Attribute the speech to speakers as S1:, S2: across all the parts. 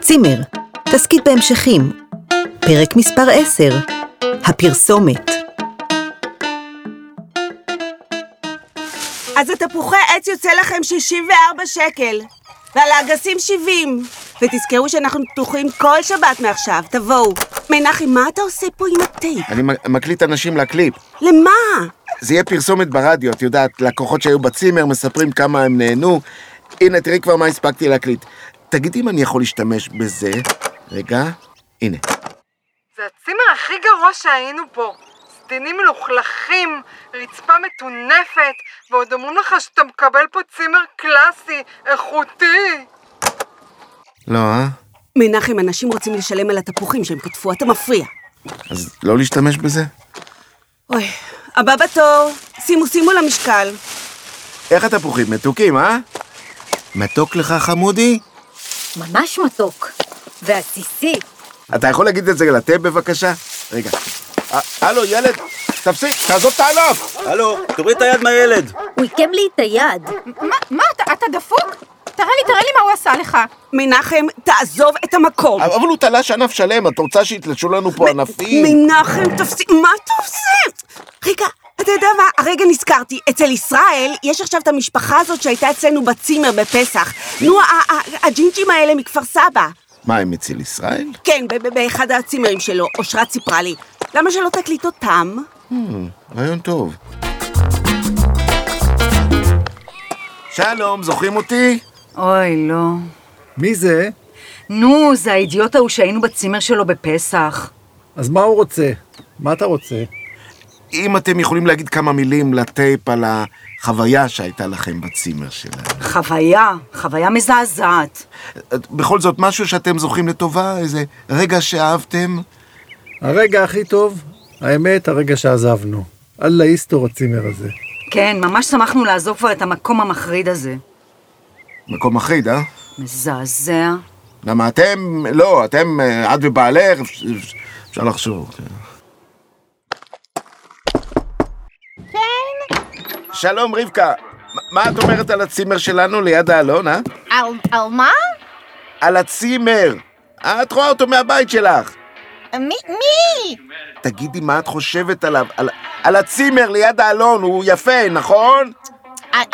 S1: צימר, תסכית בהמשכים. פרק מספר 10, הפרסומת.
S2: אז התפוחי עץ יוצא לכם 64 שקל, ועל האגסים 70. ותזכרו שאנחנו פתוחים כל שבת מעכשיו, תבואו. מנחי, מה אתה עושה פה עם הטייפ?
S3: אני מ- מקליט אנשים לקליפ.
S2: למה?
S3: זה יהיה פרסומת ברדיו, את יודעת, לקוחות שהיו בצימר מספרים כמה הם נהנו. הנה, תראי כבר מה הספקתי להקליט. תגידי אם אני יכול להשתמש בזה. רגע, הנה.
S4: זה הצימר הכי גרוע שהיינו פה. סדינים מלוכלכים, רצפה מטונפת, ועוד אומרים לך שאתה מקבל פה צימר קלאסי, איכותי.
S3: לא, אה?
S2: מנחם, אנשים רוצים לשלם על התפוחים שהם קטפו, אתה מפריע.
S3: אז לא להשתמש בזה?
S2: אוי, הבא בתור, שימו שימו למשקל.
S3: איך התפוחים מתוקים, אה? מתוק לך, חמודי?
S5: ממש מתוק. ועסיסי.
S3: אתה יכול להגיד את זה לתה בבקשה? רגע. אה, הלו, ילד, תפסיק, תעזוב את הענף!
S6: הלו, תוריד את היד מהילד.
S5: הוא עיקם לי את היד.
S7: מה, מה אתה, אתה דפוק? תראה לי, תראה לי מה הוא עשה לך.
S2: מנחם, תעזוב את המקום.
S3: אבל הוא תלש ענף שלם, את רוצה שיתלשו לנו פה ענפים?
S2: מנחם, תפסיק, מה אתה עושה? רגע, אתה יודע מה? הרגע נזכרתי, אצל ישראל יש עכשיו את המשפחה הזאת שהייתה אצלנו בצימר בפסח. נו, ה- ה- הג'ינג'ים האלה מכפר סבא.
S3: מה, הם אצל ישראל?
S2: כן, ב- ב- באחד הצימרים שלו, אושרת סיפרה לי. למה שלא תקליט אותם?
S3: רעיון טוב. שלום, זוכרים אותי?
S5: אוי, לא.
S8: מי זה?
S5: נו, זה האידיוט ההוא שהיינו בצימר שלו בפסח.
S8: אז מה הוא רוצה? מה אתה רוצה?
S3: אם אתם יכולים להגיד כמה מילים לטייפ על החוויה שהייתה לכם בצימר שלנו.
S5: חוויה, חוויה מזעזעת.
S3: בכל זאת, משהו שאתם זוכרים לטובה? איזה רגע שאהבתם?
S8: הרגע הכי טוב, האמת, הרגע שעזבנו. אללה יסתור הצימר הזה.
S9: כן, ממש שמחנו לעזוב כבר את המקום המחריד הזה.
S3: מקום מחריד, אה?
S9: מזעזע.
S3: למה אתם, לא, אתם, אה, את ובעלך, אפ- אפ- אפשר לחשוב. כן. שלום, רבקה. מה- מה את אומרת על הצימר שלנו ליד האלון, אה?
S7: על, על מה?
S3: על הצימר. אה, את רואה אותו מהבית שלך.
S7: מי? מי?
S3: תגידי מה את חושבת עליו, על, על הצימר ליד האלון, הוא יפה, נכון?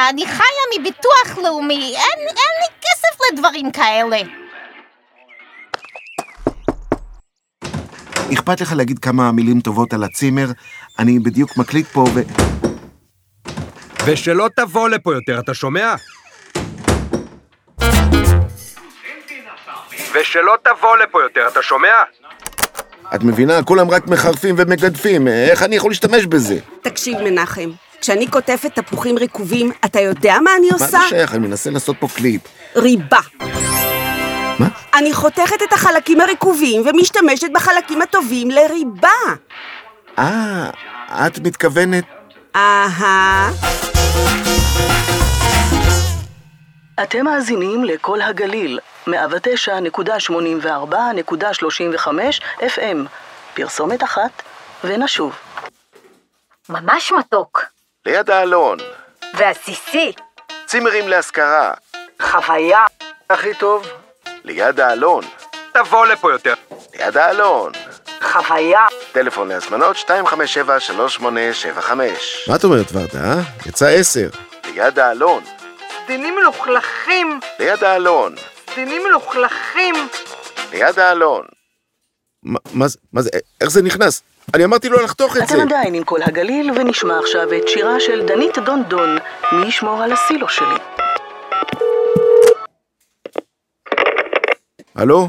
S7: אני חיה מביטוח לאומי, אין, אין לי כסף לדברים כאלה.
S3: אכפת לך להגיד כמה מילים טובות על הצימר? אני בדיוק מקליט פה ו...
S10: ושלא תבוא לפה יותר, אתה שומע? ושלא תבוא לפה יותר, אתה שומע?
S3: את מבינה? כולם רק מחרפים ומגדפים, איך אני יכול להשתמש בזה?
S2: תקשיב, מנחם, כשאני כותבת תפוחים רקובים, אתה יודע מה אני
S3: מה
S2: עושה?
S3: זה שייך? אני מנסה לעשות פה קליפ.
S2: ריבה.
S3: מה?
S2: אני חותכת את החלקים הרקובים ומשתמשת בחלקים הטובים לריבה.
S3: אה, את מתכוונת...
S2: אהה.
S11: אתם מאזינים לכל הגליל, 109.84.35 FM. פרסומת אחת, ונשוב.
S5: ממש מתוק.
S3: ליד האלון,
S5: ועסיסי.
S3: צימרים להשכרה,
S5: חוויה.
S8: הכי טוב,
S3: ליד האלון,
S10: תבוא לפה יותר.
S3: ליד האלון.
S5: חוויה.
S3: טלפון להזמנות 257-3875. מה את אומרת, ורדה, אה? יצא עשר. ליד האלון,
S4: סדינים מלוכלכים,
S3: ליד האלון,
S4: סדינים מלוכלכים.
S3: ליד האלון. מה זה, מה זה, איך זה נכנס? אני אמרתי לו לחתוך את זה.
S11: אתם עדיין עם כל הגליל, ונשמע עכשיו את שירה של דנית דונדון, מי ישמור על הסילו שלי.
S3: הלו?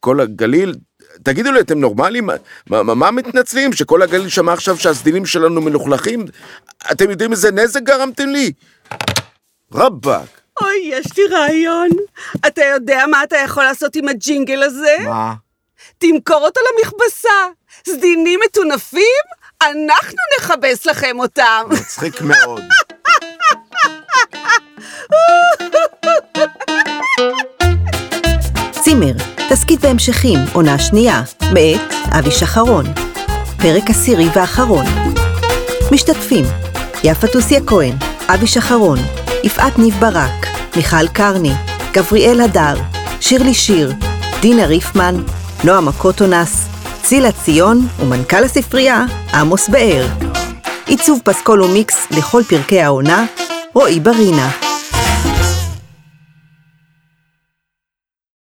S3: כל הגליל? תגידו לי, אתם נורמלים? מה, מה, מה מתנצלים? שכל הגליל שמע עכשיו שהסדינים שלנו מלוכלכים? אתם יודעים איזה נזק גרמתם לי? רבאק.
S2: אוי, יש לי רעיון. אתה יודע מה אתה יכול לעשות עם הג'ינגל הזה?
S3: מה?
S2: תמכור אותו למכבסה. סדינים מטונפים? אנחנו נכבס לכם אותם.
S3: מצחיק מאוד.
S1: צימר, תסכית בהמשכים, עונה שנייה, מאת אבי שחרון. פרק עשירי ואחרון. משתתפים יפה תוסיה כהן, אבי שחרון, יפעת ניב ברק, מיכל קרני, גבריאל הדר, שירלי שיר, דינה ריפמן, נועה מקוטונס, צילה ציון ומנכ"ל הספרייה עמוס באר. עיצוב פסקול ומיקס לכל פרקי העונה, רועי ברינה.